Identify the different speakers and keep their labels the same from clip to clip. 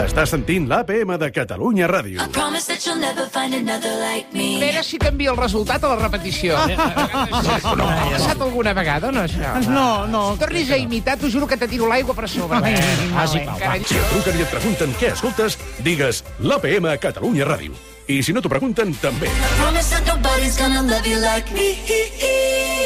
Speaker 1: Està sentint l'APM de Catalunya Ràdio.
Speaker 2: Promise that you'll never find another like me.
Speaker 3: Espera si canvia el resultat a la repetició. No. Ha passat alguna vegada, no, això?
Speaker 4: No, no.
Speaker 3: Si tornis a imitar, t'ho juro que te tiro l'aigua per sobre. Ai,
Speaker 4: Vas i pau, va.
Speaker 1: Si et truquen i et pregunten què escoltes, digues l'APM a Catalunya Ràdio. I si no t'ho pregunten, també.
Speaker 2: Promise that nobody's gonna love you like me.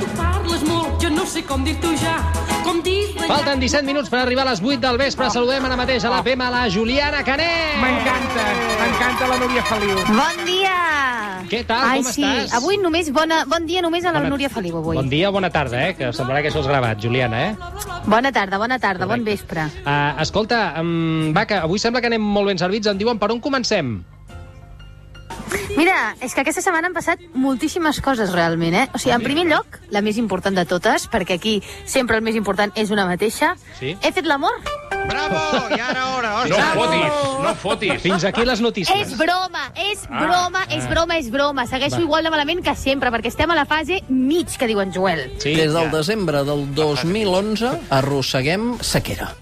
Speaker 5: Tu parles molt, jo no sé com dir-t'ho ja. Com dir
Speaker 6: Falten 17 minuts per arribar a les 8 del vespre. Saludem ara mateix a la PM, la Juliana Canet.
Speaker 3: M'encanta, m'encanta la Núria Feliu.
Speaker 7: Bon dia!
Speaker 6: Què tal?
Speaker 7: Ai,
Speaker 6: Com
Speaker 7: sí.
Speaker 6: estàs?
Speaker 7: Avui només bona, bon dia només a la Núria Feliu, avui.
Speaker 6: Bon dia o bona tarda, eh? Que semblarà que això és gravat, Juliana, eh?
Speaker 7: Bona tarda, bona tarda, bon vespre.
Speaker 6: Uh, escolta, um, va, que avui sembla que anem molt ben servits. Em diuen per on comencem?
Speaker 7: Mira, és que aquesta setmana han passat moltíssimes coses realment, eh? O sigui, en primer lloc, la més important de totes, perquè aquí sempre el més important és una mateixa.
Speaker 6: Sí.
Speaker 7: He fet l'amor?
Speaker 3: Bravo, ja era hora.
Speaker 8: No fotis, no fotis.
Speaker 6: Fins aquí les
Speaker 7: És
Speaker 6: notícies.
Speaker 7: broma, és
Speaker 6: Ah.
Speaker 7: broma, és broma, és broma. Segueixo igual de malament que sempre, perquè estem a la fase mig, que diuen Joel.
Speaker 6: Sí,
Speaker 9: Des del desembre del 2011 arrosseguem sequera.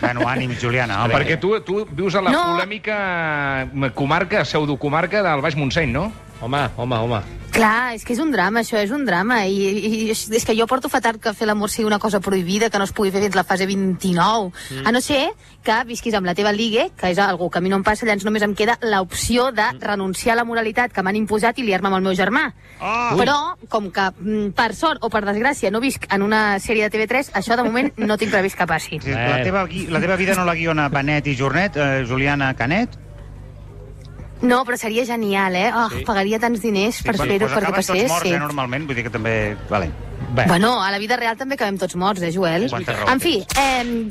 Speaker 4: Bueno, ànim, Juliana. home.
Speaker 8: Perquè tu, tu vius a la
Speaker 7: No.
Speaker 8: polèmica eh, comarca, pseudocomarca del Baix Montseny, no?
Speaker 6: Home, home, home.
Speaker 7: Clar, és que és un drama, això, és un drama. I, i, i és és que jo porto fatal que fer l'amor sigui una cosa prohibida, que no es pugui fer fins la fase 29. Mm. A no ser que visquis amb la teva ligue, que és algú que a mi no em passa, llavors només em queda l'opció de
Speaker 4: Mm.
Speaker 7: renunciar a la moralitat que m'han imposat i liar-me amb el meu germà.
Speaker 4: Ah!
Speaker 7: Oh. Però, com que, mm, per sort o per desgràcia, no visc en una sèrie de TV3, això de moment no tinc previst que passi.
Speaker 4: Sí, La teva, gui- la teva vida no la guiona Benet i Jornet, eh, Juliana Canet.
Speaker 7: No, però seria genial, eh? Oh, sí. Pagaria tants diners sí, per
Speaker 4: bueno,
Speaker 7: fer-ho,
Speaker 4: doncs
Speaker 7: perquè
Speaker 4: acaben tots morts,
Speaker 7: passés.
Speaker 4: eh, normalment, vull dir que també... Vale.
Speaker 6: Bé,
Speaker 7: Bueno, a la vida real també acabem tots morts, eh, Joel?
Speaker 4: Quanta raó
Speaker 7: En fi, eh,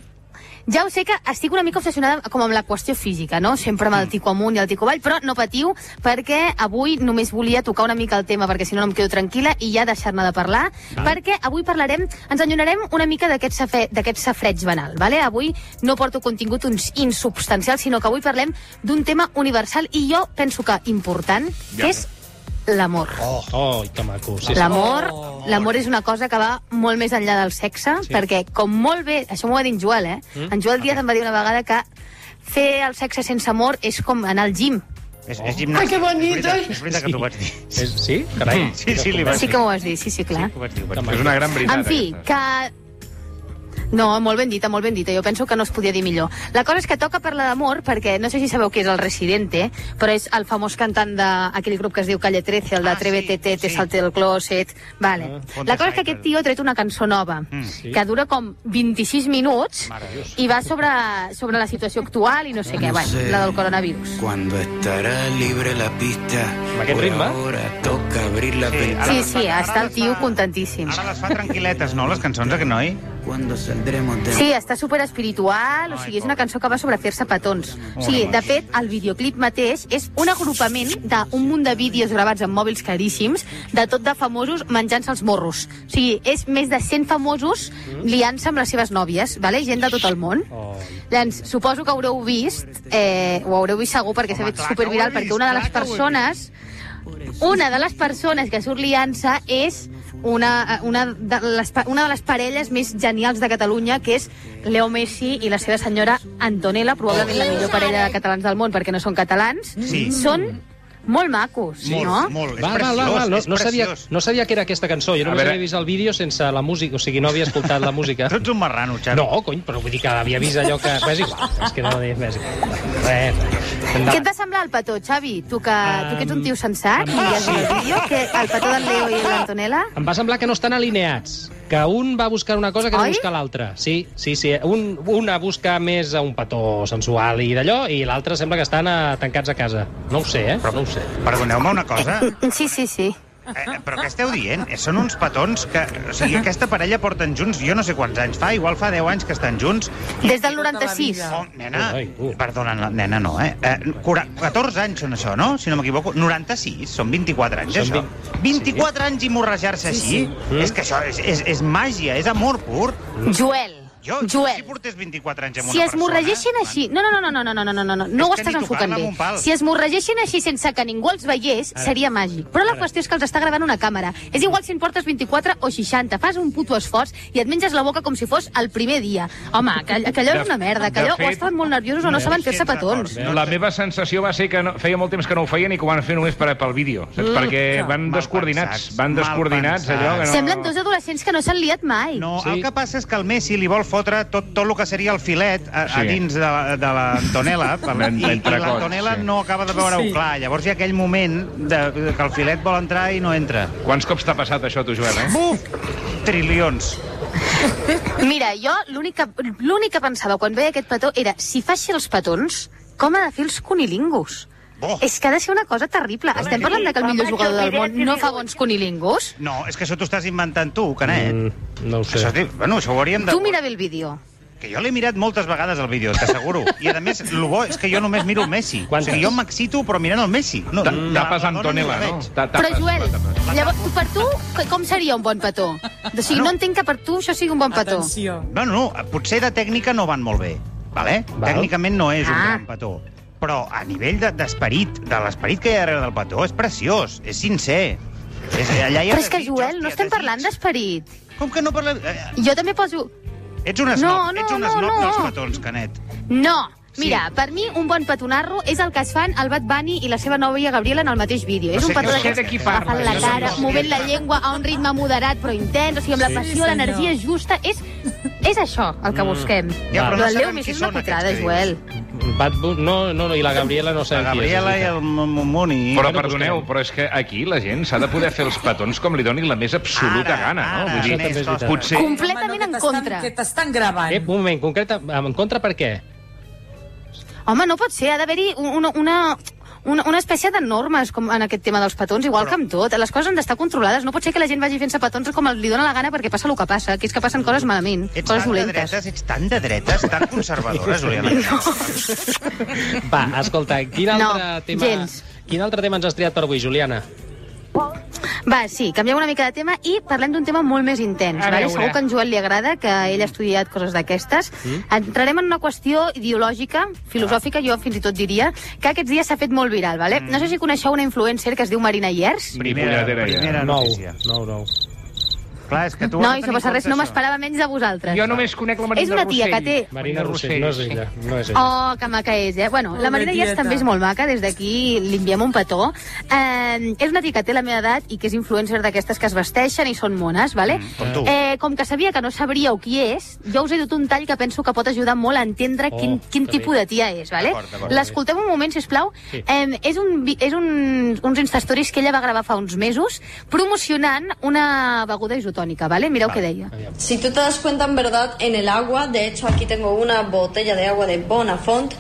Speaker 7: ja ho sé que estic una mica obsessionada com amb la qüestió física, no? Sempre amb el tico amunt i el tico avall, però no patiu, perquè avui només volia tocar una mica el tema, perquè si no no em quedo tranquil·la i ja deixar-ne de parlar, perquè avui parlarem, ens enllonarem una mica d'aquest safe- d'aquest safreig banal, vale? Avui no porto contingut uns insubstancial, sinó que avui parlem d'un tema universal i jo penso que important, que és l'amor.
Speaker 6: oh, oh, que maco. Sí, sí.
Speaker 7: L'amor, l'amor és una cosa que va molt més enllà del sexe, Oh, sí. perquè com molt bé, això m'ho va dir en Joel, eh? Mm? En Joel Díaz em va dir una vegada que fer el sexe sense amor és com anar al gym.
Speaker 4: És, és gimnàstica. Ai, que bonito. És veritat que t'ho vaig dir.
Speaker 6: És, sí? Carai.
Speaker 4: Sí, sí, li vas
Speaker 7: Ah, Sí
Speaker 4: dir.
Speaker 7: que m'ho vas dir, sí, sí, clar.
Speaker 4: Ho vaig dir, ho vaig dir.
Speaker 8: És una gran veritat,
Speaker 7: en fi,
Speaker 8: aquesta.
Speaker 7: que... No, molt ben dita, molt ben dita. Jo penso que no es podia dir millor. La cosa és que toca parlar d'amor, perquè no sé si sabeu qui és el Residente, però és el famós cantant d'aquell grup que es diu Calle 13, el de
Speaker 4: Ah,
Speaker 7: ah, Trévete,
Speaker 4: sí,
Speaker 7: sí, te, te
Speaker 4: sí. Ah,
Speaker 7: salte del closet... Vale.
Speaker 4: Fonte
Speaker 7: la
Speaker 4: Saita.
Speaker 7: cosa és
Speaker 4: Mm.
Speaker 7: que aquest tio ha tret una cançó nova,
Speaker 4: sí.
Speaker 7: que dura com 26 minuts,
Speaker 6: eh.
Speaker 7: i va sobre, sobre la situació actual i no sé què, bueno, la del coronavirus.
Speaker 10: Cuando estará libre la pista. pues
Speaker 6: Amb aquest ritme?
Speaker 10: Ahora toca abrir la
Speaker 4: Sí,
Speaker 10: ventana.
Speaker 4: Ara
Speaker 7: Sí,
Speaker 4: les fa-
Speaker 7: sí,
Speaker 4: ara
Speaker 7: està el
Speaker 4: les
Speaker 7: tio
Speaker 4: fa-
Speaker 7: contentíssim.
Speaker 4: Ara les fa tranquil·letes, no, les cançons, aquest noi?
Speaker 10: Cuando saldremos de...
Speaker 7: Sí, està super espiritual, o
Speaker 4: Ai,
Speaker 7: sigui, és
Speaker 4: pobre.
Speaker 7: una cançó que va sobre fer-se petons. O sigui, de fet, el videoclip mateix és un agrupament d'un munt de vídeos gravats amb mòbils caríssims, de tot de famosos menjant-se els morros. O sigui, és més de 100 famosos
Speaker 4: Mm.
Speaker 7: liant-se amb les seves nòvies, vale? gent de tot el món.
Speaker 6: Oh.
Speaker 7: Llavors, suposo que haureu vist, eh, ho haureu vist segur perquè s'ha
Speaker 4: Home, clar
Speaker 7: fet
Speaker 4: que ho
Speaker 7: superviral,
Speaker 4: he
Speaker 7: perquè
Speaker 4: vist,
Speaker 7: una de
Speaker 4: clar
Speaker 7: les
Speaker 4: que ho he vist.
Speaker 7: persones una de les persones que surt liant-se és una, eh, una, de les, pa- una de les parelles més genials de Catalunya, que és Leo Messi i la seva senyora Antonella, probablement la millor parella de catalans del món, perquè no són catalans.
Speaker 4: Sí.
Speaker 7: Són molt macos,
Speaker 4: Molt,
Speaker 7: no?
Speaker 4: molt. És
Speaker 6: Va, va,
Speaker 4: preciós,
Speaker 6: va, va. No,
Speaker 4: és
Speaker 6: no, sabia,
Speaker 4: preciós.
Speaker 6: no sabia que era aquesta cançó. Jo
Speaker 8: A
Speaker 6: només
Speaker 8: veure.
Speaker 6: havia vist el vídeo sense la música, o sigui, no havia escoltat la música.
Speaker 4: Tu ets un marrano, Xavi.
Speaker 6: No, cony, però vull dir que havia vist allò que... Bé, és igual, és que no és igual. Res, res.
Speaker 7: Què et
Speaker 6: Endavant.
Speaker 7: va semblar el petó, Xavi? Tu que, tu que ets un tio sensat i has vist el vídeo, que el petó del Leo i l'Antonella...
Speaker 6: Em va semblar que no estan alineats, que un va buscar una cosa que no
Speaker 7: Oi?
Speaker 6: busca l'altra. Sí, sí, sí. Un, una busca més a un petó sensual i d'allò, i l'altre sembla que estan eh, tancats a casa. No ho sé, eh? Però no ho sé.
Speaker 4: Perdoneu-me una cosa.
Speaker 7: Sí, sí, sí.
Speaker 4: Eh, eh, però què esteu dient? Eh, Són uns petons que... O sigui, aquesta parella porten junts, jo no sé quants anys fa, igual fa 10 anys que estan junts.
Speaker 7: Des del 96.
Speaker 4: Oh, nena,
Speaker 6: Ai, uh.
Speaker 4: perdona, no, nena no, eh? eh cura- 14 anys són això, no? Si no m'equivoco. 96, són 24 anys,
Speaker 6: Són
Speaker 4: això. 24 anys i morrejar-se així? És que això és, és, és màgia, és amor pur.
Speaker 7: Joel,
Speaker 4: Jo,
Speaker 7: Joel.
Speaker 4: si portés 24 anys amb
Speaker 7: Si
Speaker 4: una
Speaker 7: es morregeixen
Speaker 4: persona, eh?
Speaker 7: així... No, no, no, no, no, no, no, no, no, no, no, no ho
Speaker 4: que
Speaker 7: estàs
Speaker 4: ni
Speaker 7: enfocant
Speaker 4: tocar-la
Speaker 7: bé.
Speaker 4: amb un pal.
Speaker 7: Si es morregeixen així sense que ningú els veiés, seria màgic. Però la qüestió és que els està gravant una càmera. És igual si en portes 24 o 60. Fas un puto esforç i et menges la boca com si fos el primer dia. Home, que, que allò
Speaker 8: De-
Speaker 7: és una merda,
Speaker 8: de
Speaker 7: que allò
Speaker 8: fet-
Speaker 7: o estan molt nerviosos o no saben fer-se petons.
Speaker 4: No,
Speaker 8: La
Speaker 4: no.
Speaker 8: meva sensació va ser que no, feia molt temps que no ho feien i que ho van fer només per, pel vídeo, saps? Perquè van
Speaker 4: Mm. Mal
Speaker 8: descoordinats,
Speaker 4: pensats,
Speaker 8: van
Speaker 4: mal
Speaker 8: descoordinats, allò que no...
Speaker 7: Semblen dos adolescents que no s'han liat mai.
Speaker 4: No,
Speaker 6: Sí.
Speaker 4: el que passa és que el Messi li vol fotre tot, tot el que seria el filet a, a
Speaker 8: Sí.
Speaker 4: dins de, la- de l'Antonella, per-
Speaker 8: L'en-
Speaker 4: i, i
Speaker 8: l'entrecot,
Speaker 4: l'Antonella
Speaker 8: sí.
Speaker 4: no acaba de veure-ho sí. clar. Llavors hi ha aquell moment de, de que el filet vol entrar i no entra.
Speaker 8: Quants cops t'ha passat això, a tu, Joan, eh?
Speaker 4: Buf! Trilions.
Speaker 7: Mira, jo l'únic que, l'únic que pensava quan veia aquest petó era si fa així els petons, com ha de fer els cunilingus?
Speaker 4: Bo.
Speaker 7: És que ha de ser una cosa terrible. Estem parlant de que el millor jugador del món no fa bons cunilingus?
Speaker 4: No, és que això t'ho estàs inventant tu, Canet. Mm,
Speaker 6: Mm, no ho sé.
Speaker 4: això, és- bueno, això ho hauríem de...
Speaker 7: Tu mira bé el vídeo.
Speaker 4: Que jo l'he mirat moltes vegades el vídeo, t'asseguro. I a més, el bo és que jo només miro el Messi.
Speaker 6: Quantes?
Speaker 4: O sigui, jo m'excito però mirant el Messi. No,
Speaker 8: Ta-
Speaker 4: de-
Speaker 8: Tapes
Speaker 4: de-
Speaker 8: Antonella,
Speaker 4: Mm. la
Speaker 8: no?
Speaker 4: veig.
Speaker 8: Ta-
Speaker 7: Però,
Speaker 8: tapes,
Speaker 7: Joel,
Speaker 8: tapes.
Speaker 7: llavors, tu, per tu, que- com seria un bon petó? O sigui, no entenc que per tu això sigui un bon petó.
Speaker 4: No, no, no, potser de tècnica no van molt bé, vale?
Speaker 6: Val.
Speaker 4: Tècnicament no és un
Speaker 7: Ah.
Speaker 4: gran petó. Però a nivell de- d'esperit, de, l'esperit que hi ha darrere del petó, és preciós, és sincer. És, allà hi ha
Speaker 7: Però és que,
Speaker 4: desig,
Speaker 7: Joel,
Speaker 4: hòstia,
Speaker 7: no estem
Speaker 4: desig.
Speaker 7: parlant d'esperit.
Speaker 4: Com que no parlem... Eh,
Speaker 7: Jo també poso...
Speaker 4: ets un esnob,
Speaker 7: No, no,
Speaker 4: ets un
Speaker 7: no,
Speaker 4: esnob
Speaker 7: no.
Speaker 4: dels petons, Canet.
Speaker 7: No!
Speaker 4: Sí.
Speaker 7: Mira, per mi, un bon petonarro és el que es fan el Bad Bunny i la seva nòvia Gabriela en el mateix vídeo. és
Speaker 4: sé-
Speaker 7: un petó
Speaker 4: no sé
Speaker 7: d'aquests
Speaker 4: de qui
Speaker 7: que
Speaker 8: parles,
Speaker 7: agafen la
Speaker 8: jo
Speaker 7: cara,
Speaker 8: sé-
Speaker 7: movent la llengua a un ritme moderat però intens, o sigui, amb la passió, l'energia justa. És, és això el que busquem.
Speaker 4: Mm. Ja, però
Speaker 7: Lo
Speaker 4: no
Speaker 7: del Leo
Speaker 4: sabem
Speaker 7: Messi
Speaker 4: qui
Speaker 7: és una
Speaker 4: són aquests
Speaker 7: cutrada,
Speaker 4: que
Speaker 7: Joel.
Speaker 6: Bad Bu- no, no, no, i la Gabriela no sé
Speaker 4: La Gabriela i el Mumuni...
Speaker 8: Però
Speaker 6: Bueno,
Speaker 8: perdoneu,
Speaker 6: busquem.
Speaker 8: però és que aquí la gent s'ha de poder fer els petons com li doni la més absoluta
Speaker 4: Ara,
Speaker 8: gana, no?
Speaker 4: ara,
Speaker 8: Vull dir,
Speaker 4: més
Speaker 6: també és
Speaker 4: coses.
Speaker 6: veritat.
Speaker 8: potser...
Speaker 7: Completament en contra.
Speaker 5: t'estan gravant.
Speaker 6: Eh, un moment, concreta, en contra per què?
Speaker 7: Home, no pot ser, ha d'haver-hi un- una, una, una, una espècie de normes com en aquest tema dels petons, igual que amb tot. Les coses han d'estar controlades. No pot ser que la gent vagi fent-se petons com li dóna la gana perquè passa el que passa, que és que passen coses malament,
Speaker 4: Ets tan
Speaker 7: coses
Speaker 4: de
Speaker 7: dolentes.
Speaker 4: dretes, ets tan de dretes, tan conservadora, Juliana.
Speaker 6: Va, escolta, quin
Speaker 7: No,
Speaker 6: altre tema...
Speaker 7: gens.
Speaker 6: Quin altre tema ens has triat per avui, Juliana?
Speaker 7: Va, sí, canviem una mica de tema i parlem d'un tema molt més intens.
Speaker 8: A
Speaker 7: Vale?
Speaker 8: veure.
Speaker 7: Segur que en Joel li agrada, que ell ha estudiat coses d'aquestes. Entrarem en una qüestió ideològica, filosòfica, jo fins i tot diria, que aquests dies s'ha fet molt viral. Vale?
Speaker 8: Mm.
Speaker 7: No sé si coneixeu una influencer que es diu Marina Iers.
Speaker 4: Primera,
Speaker 8: Polladera ja.
Speaker 4: primera
Speaker 6: nou,
Speaker 4: notícia.
Speaker 6: nou, nou.
Speaker 4: Clar, és que tu...
Speaker 7: Nois, no passa res, no m'esperava menys de vosaltres.
Speaker 8: Jo només conec la Marina
Speaker 7: És una tia que
Speaker 8: Rossell.
Speaker 7: té-
Speaker 6: Marina Rossell, no és ella, no és ella.
Speaker 7: Oh, que maca és, eh? Bueno, la Marina Ies també és molt maca, des d'aquí li enviem un petó. Eh, és una tia que té la meva edat i que és influencer d'aquestes que es vesteixen i són mones, vale? Mm,
Speaker 4: com tu.
Speaker 7: eh, com que sabia que no sabríeu qui és, jo us he dut un tall que penso que pot ajudar molt a entendre
Speaker 6: Oh,
Speaker 7: quin, quin
Speaker 6: que
Speaker 7: tipus
Speaker 6: bé.
Speaker 7: de tia és, vale?
Speaker 4: D'acord, d'acord.
Speaker 7: L'escoltem un moment, si plau.
Speaker 6: Sí.
Speaker 7: Sí. Eh, és un, vi- és un, uns instastories que ella va gravar fa uns mesos promocionant una beguda isotònica, vale? Mireu què deia.
Speaker 5: Si tú te das cuenta, en verdad, en el agua, de hecho aquí tengo una botella de agua de Bonafont,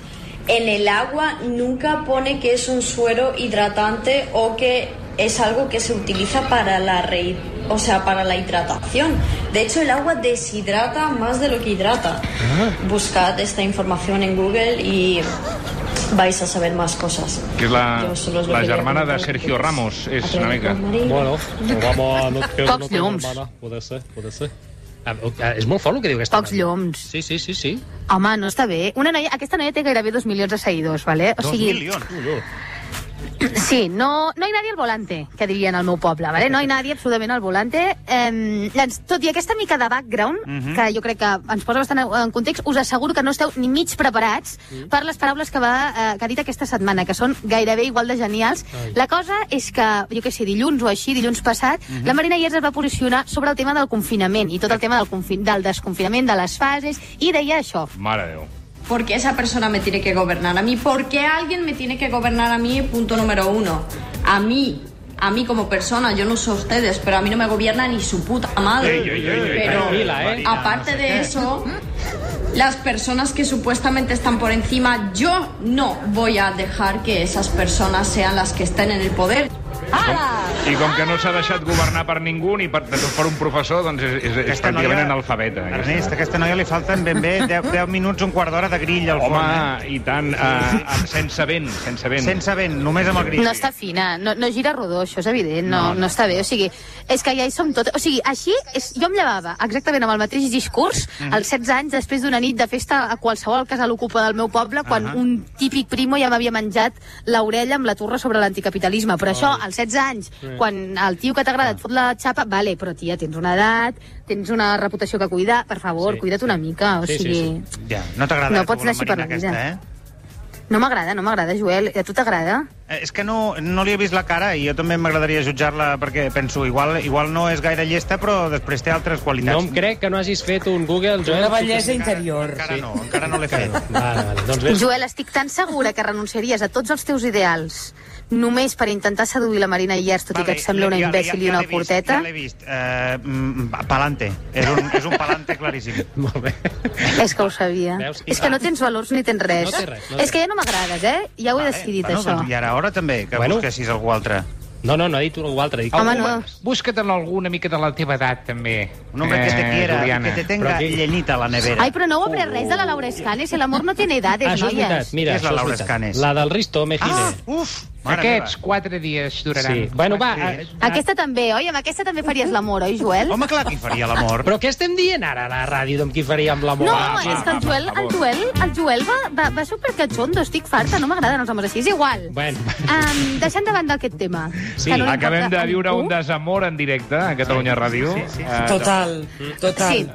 Speaker 5: en el agua nunca pone que es un suero hidratante o que es algo que se utiliza para la rehi- o sea, para la hidratación. De hecho, el agua deshidrata más de lo que hidrata. Buscad esta información en Google y vais a saber más cosas.
Speaker 8: Que és la,
Speaker 5: Yo solo os lo
Speaker 8: la
Speaker 5: quería
Speaker 8: germana de
Speaker 5: comentar
Speaker 8: Sergio
Speaker 5: porque,
Speaker 8: Ramos, és
Speaker 5: a
Speaker 8: una
Speaker 5: través
Speaker 8: mica.
Speaker 5: del marido,
Speaker 6: Bueno, pues vamos a... No, que
Speaker 7: Pocs
Speaker 6: no tengo
Speaker 7: llums.
Speaker 6: hermana. Puede ser, puede ser. Ah, ah, És molt fort el que diu aquesta
Speaker 7: Pocs
Speaker 6: noia.
Speaker 7: llums.
Speaker 6: Sí, sí, sí, sí.
Speaker 7: Home, no està bé. Una noia, aquesta noia té gairebé dos milions de seguidors, vale? O
Speaker 4: Dos
Speaker 7: sigui,
Speaker 4: milions.
Speaker 7: Sí, no, no hi nadie al volante, que dirien al meu poble, vale? no hi nadie absolutament al volante. Eh, doncs, tot i aquesta mica de background,
Speaker 4: Mhm.
Speaker 7: que jo crec que ens posa bastant en context, us asseguro que no esteu ni mig preparats per les paraules que, va, eh, que ha dit aquesta setmana, que són gairebé igual de genials. La cosa és que, jo què sé, dilluns o així, dilluns passat,
Speaker 4: Mhm.
Speaker 7: la Marina Iers es va posicionar sobre el tema del confinament i tot el tema del, confin del desconfinament, de les fases, i deia això.
Speaker 8: Mare de Déu.
Speaker 5: ¿Por qué esa persona me tiene que gobernar a mí? ¿Por qué alguien me tiene que gobernar a mí? Punto número uno. A mí, a mí como persona, yo no sé ustedes, pero a mí no me gobierna ni su puta madre.
Speaker 8: Ei, ei, ei, ei,
Speaker 5: Pero
Speaker 6: tranquila, eh.
Speaker 5: aparte de eso, las personas que supuestamente están por encima, yo no voy a dejar que esas personas sean las que estén en el poder.
Speaker 7: Ara!
Speaker 8: I com que no s'ha deixat governar per ningú ni per, per un professor, doncs és, és, és
Speaker 4: Aquesta
Speaker 8: pràcticament
Speaker 4: noia-
Speaker 8: analfabeta. eh, aquesta.
Speaker 4: Ernest, a aquesta noia li falten ben bé 10, 10 minuts, un quart d'hora de grill al
Speaker 8: Home,
Speaker 4: fons.
Speaker 8: i tant, eh, eh, sense vent, sense
Speaker 4: eh?
Speaker 8: vent.
Speaker 4: Sense vent, només amb el grill.
Speaker 7: No està fina, no, no gira rodó, això és evident, no,
Speaker 8: No,
Speaker 7: no,
Speaker 8: no.
Speaker 7: està bé. O sigui, és que ja hi som totes. O sigui, així, és, jo em llevava exactament amb el mateix discurs als 16 anys després d'una nit de festa a qualsevol casa l'ocupa del meu poble quan un típic primo ja m'havia menjat l'orella amb la turra sobre l'anticapitalisme. Però això, als 16 anys, quan el tio que t'agrada et fot la xapa, vale, però tia, tens una edat, tens una reputació que cuidar, per favor,
Speaker 6: Sí.
Speaker 7: cuida't una mica, o
Speaker 6: Sí, sí,
Speaker 7: sigui...
Speaker 6: sí.
Speaker 4: Ja, no t'agrada
Speaker 7: No
Speaker 4: la
Speaker 7: pots anar així per la
Speaker 4: Marina
Speaker 7: vida.
Speaker 4: aquesta, eh?
Speaker 7: No m'agrada, no m'agrada, Joel. A tu t'agrada?
Speaker 4: Eh, És que no, no li he vist la cara i jo també m'agradaria jutjar-la perquè penso, igual, igual no és gaire llesta, però després té altres qualitats.
Speaker 6: No em crec que no hagis fet un Google, Joel.
Speaker 11: Una bellesa interior.
Speaker 4: Encara no, encara no l'he fet.
Speaker 6: Vale, vale, doncs bé.
Speaker 7: Joel, estic tan segura que renunciaries a tots els teus ideals només per intentar seduir la Marina Iers, tot i que et sembla una imbècil i una
Speaker 4: l'he vist,
Speaker 7: porteta.
Speaker 4: Ja l'he vist. Eh, mm, va, palante. És un, és un palante claríssim.
Speaker 6: Molt bé.
Speaker 7: És que ho sabia.
Speaker 6: Veus? I
Speaker 7: És que
Speaker 6: va.
Speaker 7: no tens valors ni tens res.
Speaker 6: No té res, no té
Speaker 7: És que ja no m'agrades, eh? Ja ho he decidit,
Speaker 4: bueno,
Speaker 7: això.
Speaker 4: Doncs, I ara hora també, que
Speaker 6: Bueno.
Speaker 4: bueno. busquessis algú altre.
Speaker 6: No, no, no ha dit algú altre. Dic,
Speaker 7: Home,
Speaker 6: algú
Speaker 7: no.
Speaker 6: altre.
Speaker 8: Busca't en algú una mica de la teva edat, també. Eh,
Speaker 4: Un home que te quiera,
Speaker 8: Juliana.
Speaker 4: que te
Speaker 6: Eh, Però
Speaker 4: tenga
Speaker 6: aquí-
Speaker 4: llenita a la nevera.
Speaker 7: Ai, però no ho aprés res de la Laura Escanes. El amor no tiene edades,
Speaker 6: Això és
Speaker 7: noies.
Speaker 6: veritat, mira,
Speaker 4: Qui és la
Speaker 6: això
Speaker 4: Laura
Speaker 6: veritat.
Speaker 4: Escanes?
Speaker 6: La del Risto Mejide.
Speaker 4: Ah, uf! Mare
Speaker 8: Aquests
Speaker 4: meva.
Speaker 8: quatre dies duraran.
Speaker 6: sí. Bueno, va...
Speaker 4: Quatre dies.
Speaker 6: eh,
Speaker 7: Aquesta també, oi? Amb aquesta també faries l'amor, oi, Joel?
Speaker 4: Home, clar que hi faria l'amor.
Speaker 6: Però què estem dient ara a la ràdio d'on qui faria amb la
Speaker 7: No,
Speaker 6: mola?
Speaker 7: home, és que el Joel, el Joel, el Joel va, va, va supercatxondo, estic farta, no m'agraden els homes així, és igual.
Speaker 6: Bueno,
Speaker 7: Um, deixant de banda aquest tema.
Speaker 6: Sí,
Speaker 7: que no li
Speaker 8: Acabem
Speaker 7: importa
Speaker 8: de
Speaker 7: a
Speaker 8: viure
Speaker 7: ningú.
Speaker 8: un desamor en directe a Catalunya Ràdio. Sí, sí, sí.
Speaker 11: Total, total.
Speaker 7: Sí.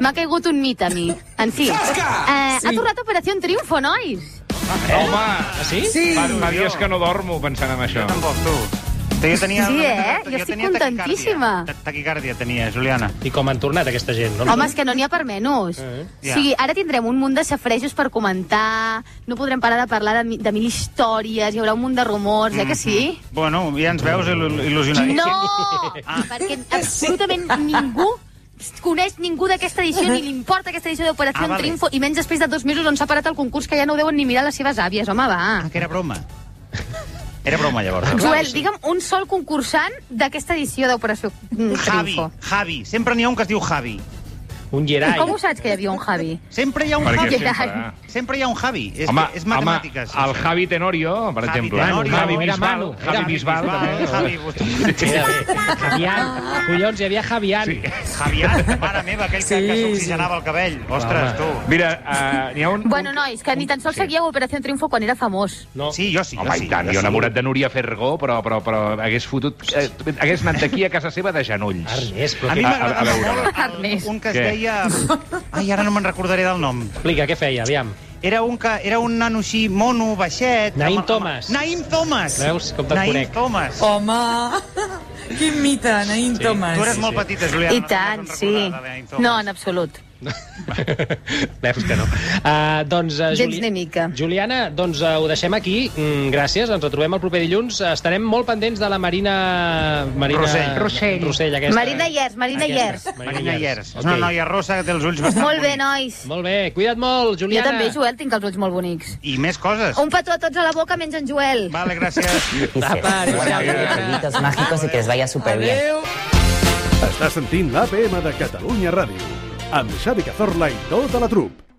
Speaker 7: M'ha caigut un mit a mi. En fi. Eh, ha tornat Operació Triunfo, nois.
Speaker 8: Eh, Home,
Speaker 6: Ah, sí?
Speaker 11: Sí.
Speaker 8: fa, fa dies que no dormo pensant en això.
Speaker 4: Tampoc, tu. Jo tenia,
Speaker 7: Sí, eh?
Speaker 4: jo
Speaker 7: Jo estic
Speaker 4: tenia taquicàrdia.
Speaker 7: contentíssima.
Speaker 4: Ta- Taquicàrdia tenia, Juliana.
Speaker 6: I com han tornat aquesta gent, no?
Speaker 7: Home, és que no n'hi ha per menys.
Speaker 4: Eh,
Speaker 7: O sigui, ara tindrem un munt de safrejos per comentar, no podrem parar de parlar de, mi- de mil històries, hi haurà un munt de rumors, eh que sí?
Speaker 4: Bueno, ja ens veus il·lu- il·lusionadíssim.
Speaker 7: No! Perquè absolutament ningú coneix ningú d'aquesta edició ni li importa aquesta edició d'Operació
Speaker 4: Ah, vale.
Speaker 7: Triunfo i menys després de dos mesos on s'ha parat el concurs que ja no ho deuen ni mirar les seves àvies, home, va.
Speaker 4: Ah, que era broma. Era broma, llavors.
Speaker 7: Joel, digue'm un sol concursant d'aquesta edició d'Operació mm,
Speaker 4: Javi,
Speaker 7: Triunfo.
Speaker 4: Javi. Sempre n'hi ha un que es diu Javi.
Speaker 6: Un
Speaker 7: I
Speaker 6: Gerai.
Speaker 7: com ho saps que hi havia un Javi?
Speaker 4: Sempre hi ha un
Speaker 8: Perquè
Speaker 4: Javi.
Speaker 7: Javi.
Speaker 8: sempre... ah.
Speaker 4: Sempre hi ha un Javi. És,
Speaker 8: Home,
Speaker 4: és
Speaker 8: home,
Speaker 4: matemàtiques.
Speaker 8: el Javi Tenorio, per
Speaker 4: Javi
Speaker 8: exemple.
Speaker 4: Tenorio.
Speaker 8: Javi
Speaker 6: Era
Speaker 8: Bisbal.
Speaker 6: Manu.
Speaker 8: Javi
Speaker 6: Era
Speaker 8: Bisbal. també.
Speaker 4: Javi, vostè.
Speaker 6: Mira bé, Javian. Collons, hi havia Javian. Sí.
Speaker 4: Javiat, mare meva, aquell que, que s'oxigenava el cabell. Ostres, tu.
Speaker 8: Mira, eh, n'hi ha un...
Speaker 7: Bueno, nois, que ni tan sols seguíeu Operació Triunfo quan era famós.
Speaker 6: No.
Speaker 4: Sí, jo sí, jo
Speaker 8: Home,
Speaker 4: sí.
Speaker 8: i tant, jo
Speaker 4: sí.
Speaker 8: enamorat de Núria Fergó, però, però, però hagués fotut... Eh, hagués anat d'aquí a casa seva de genolls.
Speaker 6: Ernest, però
Speaker 4: A
Speaker 6: què...
Speaker 8: A-
Speaker 4: mi
Speaker 8: a- a
Speaker 4: m'agradava
Speaker 8: veure.
Speaker 4: molt el,
Speaker 7: Ernest.
Speaker 4: un que es
Speaker 8: Què?
Speaker 4: deia... Ai, ara no me'n recordaré del nom.
Speaker 6: Explica, què feia, aviam.
Speaker 4: Era un, que, era un nano així, mono, baixet...
Speaker 6: Naïm
Speaker 4: amb- amb-
Speaker 6: Thomas.
Speaker 4: Naïm Thomas!
Speaker 6: Veus com te'l
Speaker 4: Naïm
Speaker 6: conec.
Speaker 4: Thomas.
Speaker 11: Home, quin mite, Naïm sí. Tomàs.
Speaker 4: tu eres molt petita, Juliana.
Speaker 7: I
Speaker 4: no te'n
Speaker 7: tant,
Speaker 4: vas
Speaker 7: sí.
Speaker 4: recordar de Naïm Thomas.
Speaker 7: No, en absolut.
Speaker 6: Veus que no. Uh, doncs, uh,
Speaker 7: Gens ni mica.
Speaker 6: Juliana, doncs uh, ho deixem aquí. Mm, gràcies, ens retrobem el proper dilluns. Estarem molt pendents de la Marina... Marina...
Speaker 4: Rossell.
Speaker 6: Rossell. Rossell aquesta.
Speaker 7: Marina Iers, Marina Iers.
Speaker 4: Marina Llers. És una
Speaker 6: Ok.
Speaker 4: noia rossa que té els ulls bastant
Speaker 7: Molt bé,
Speaker 4: bonics.
Speaker 7: nois.
Speaker 6: Molt bé, cuida't molt,
Speaker 7: Jo
Speaker 6: Juliana.
Speaker 7: també, Joel, tinc els ulls molt bonics.
Speaker 4: I més coses.
Speaker 7: Un petó a tots a la boca, menys en Joel.
Speaker 4: Vale, gràcies.
Speaker 11: Apa, ara.
Speaker 12: Los mágicos y que les vaya súper bien.
Speaker 11: Adéu.
Speaker 1: Està sentint l'APM de Catalunya Ràdio amb Xavi Cazorla i tota la trup.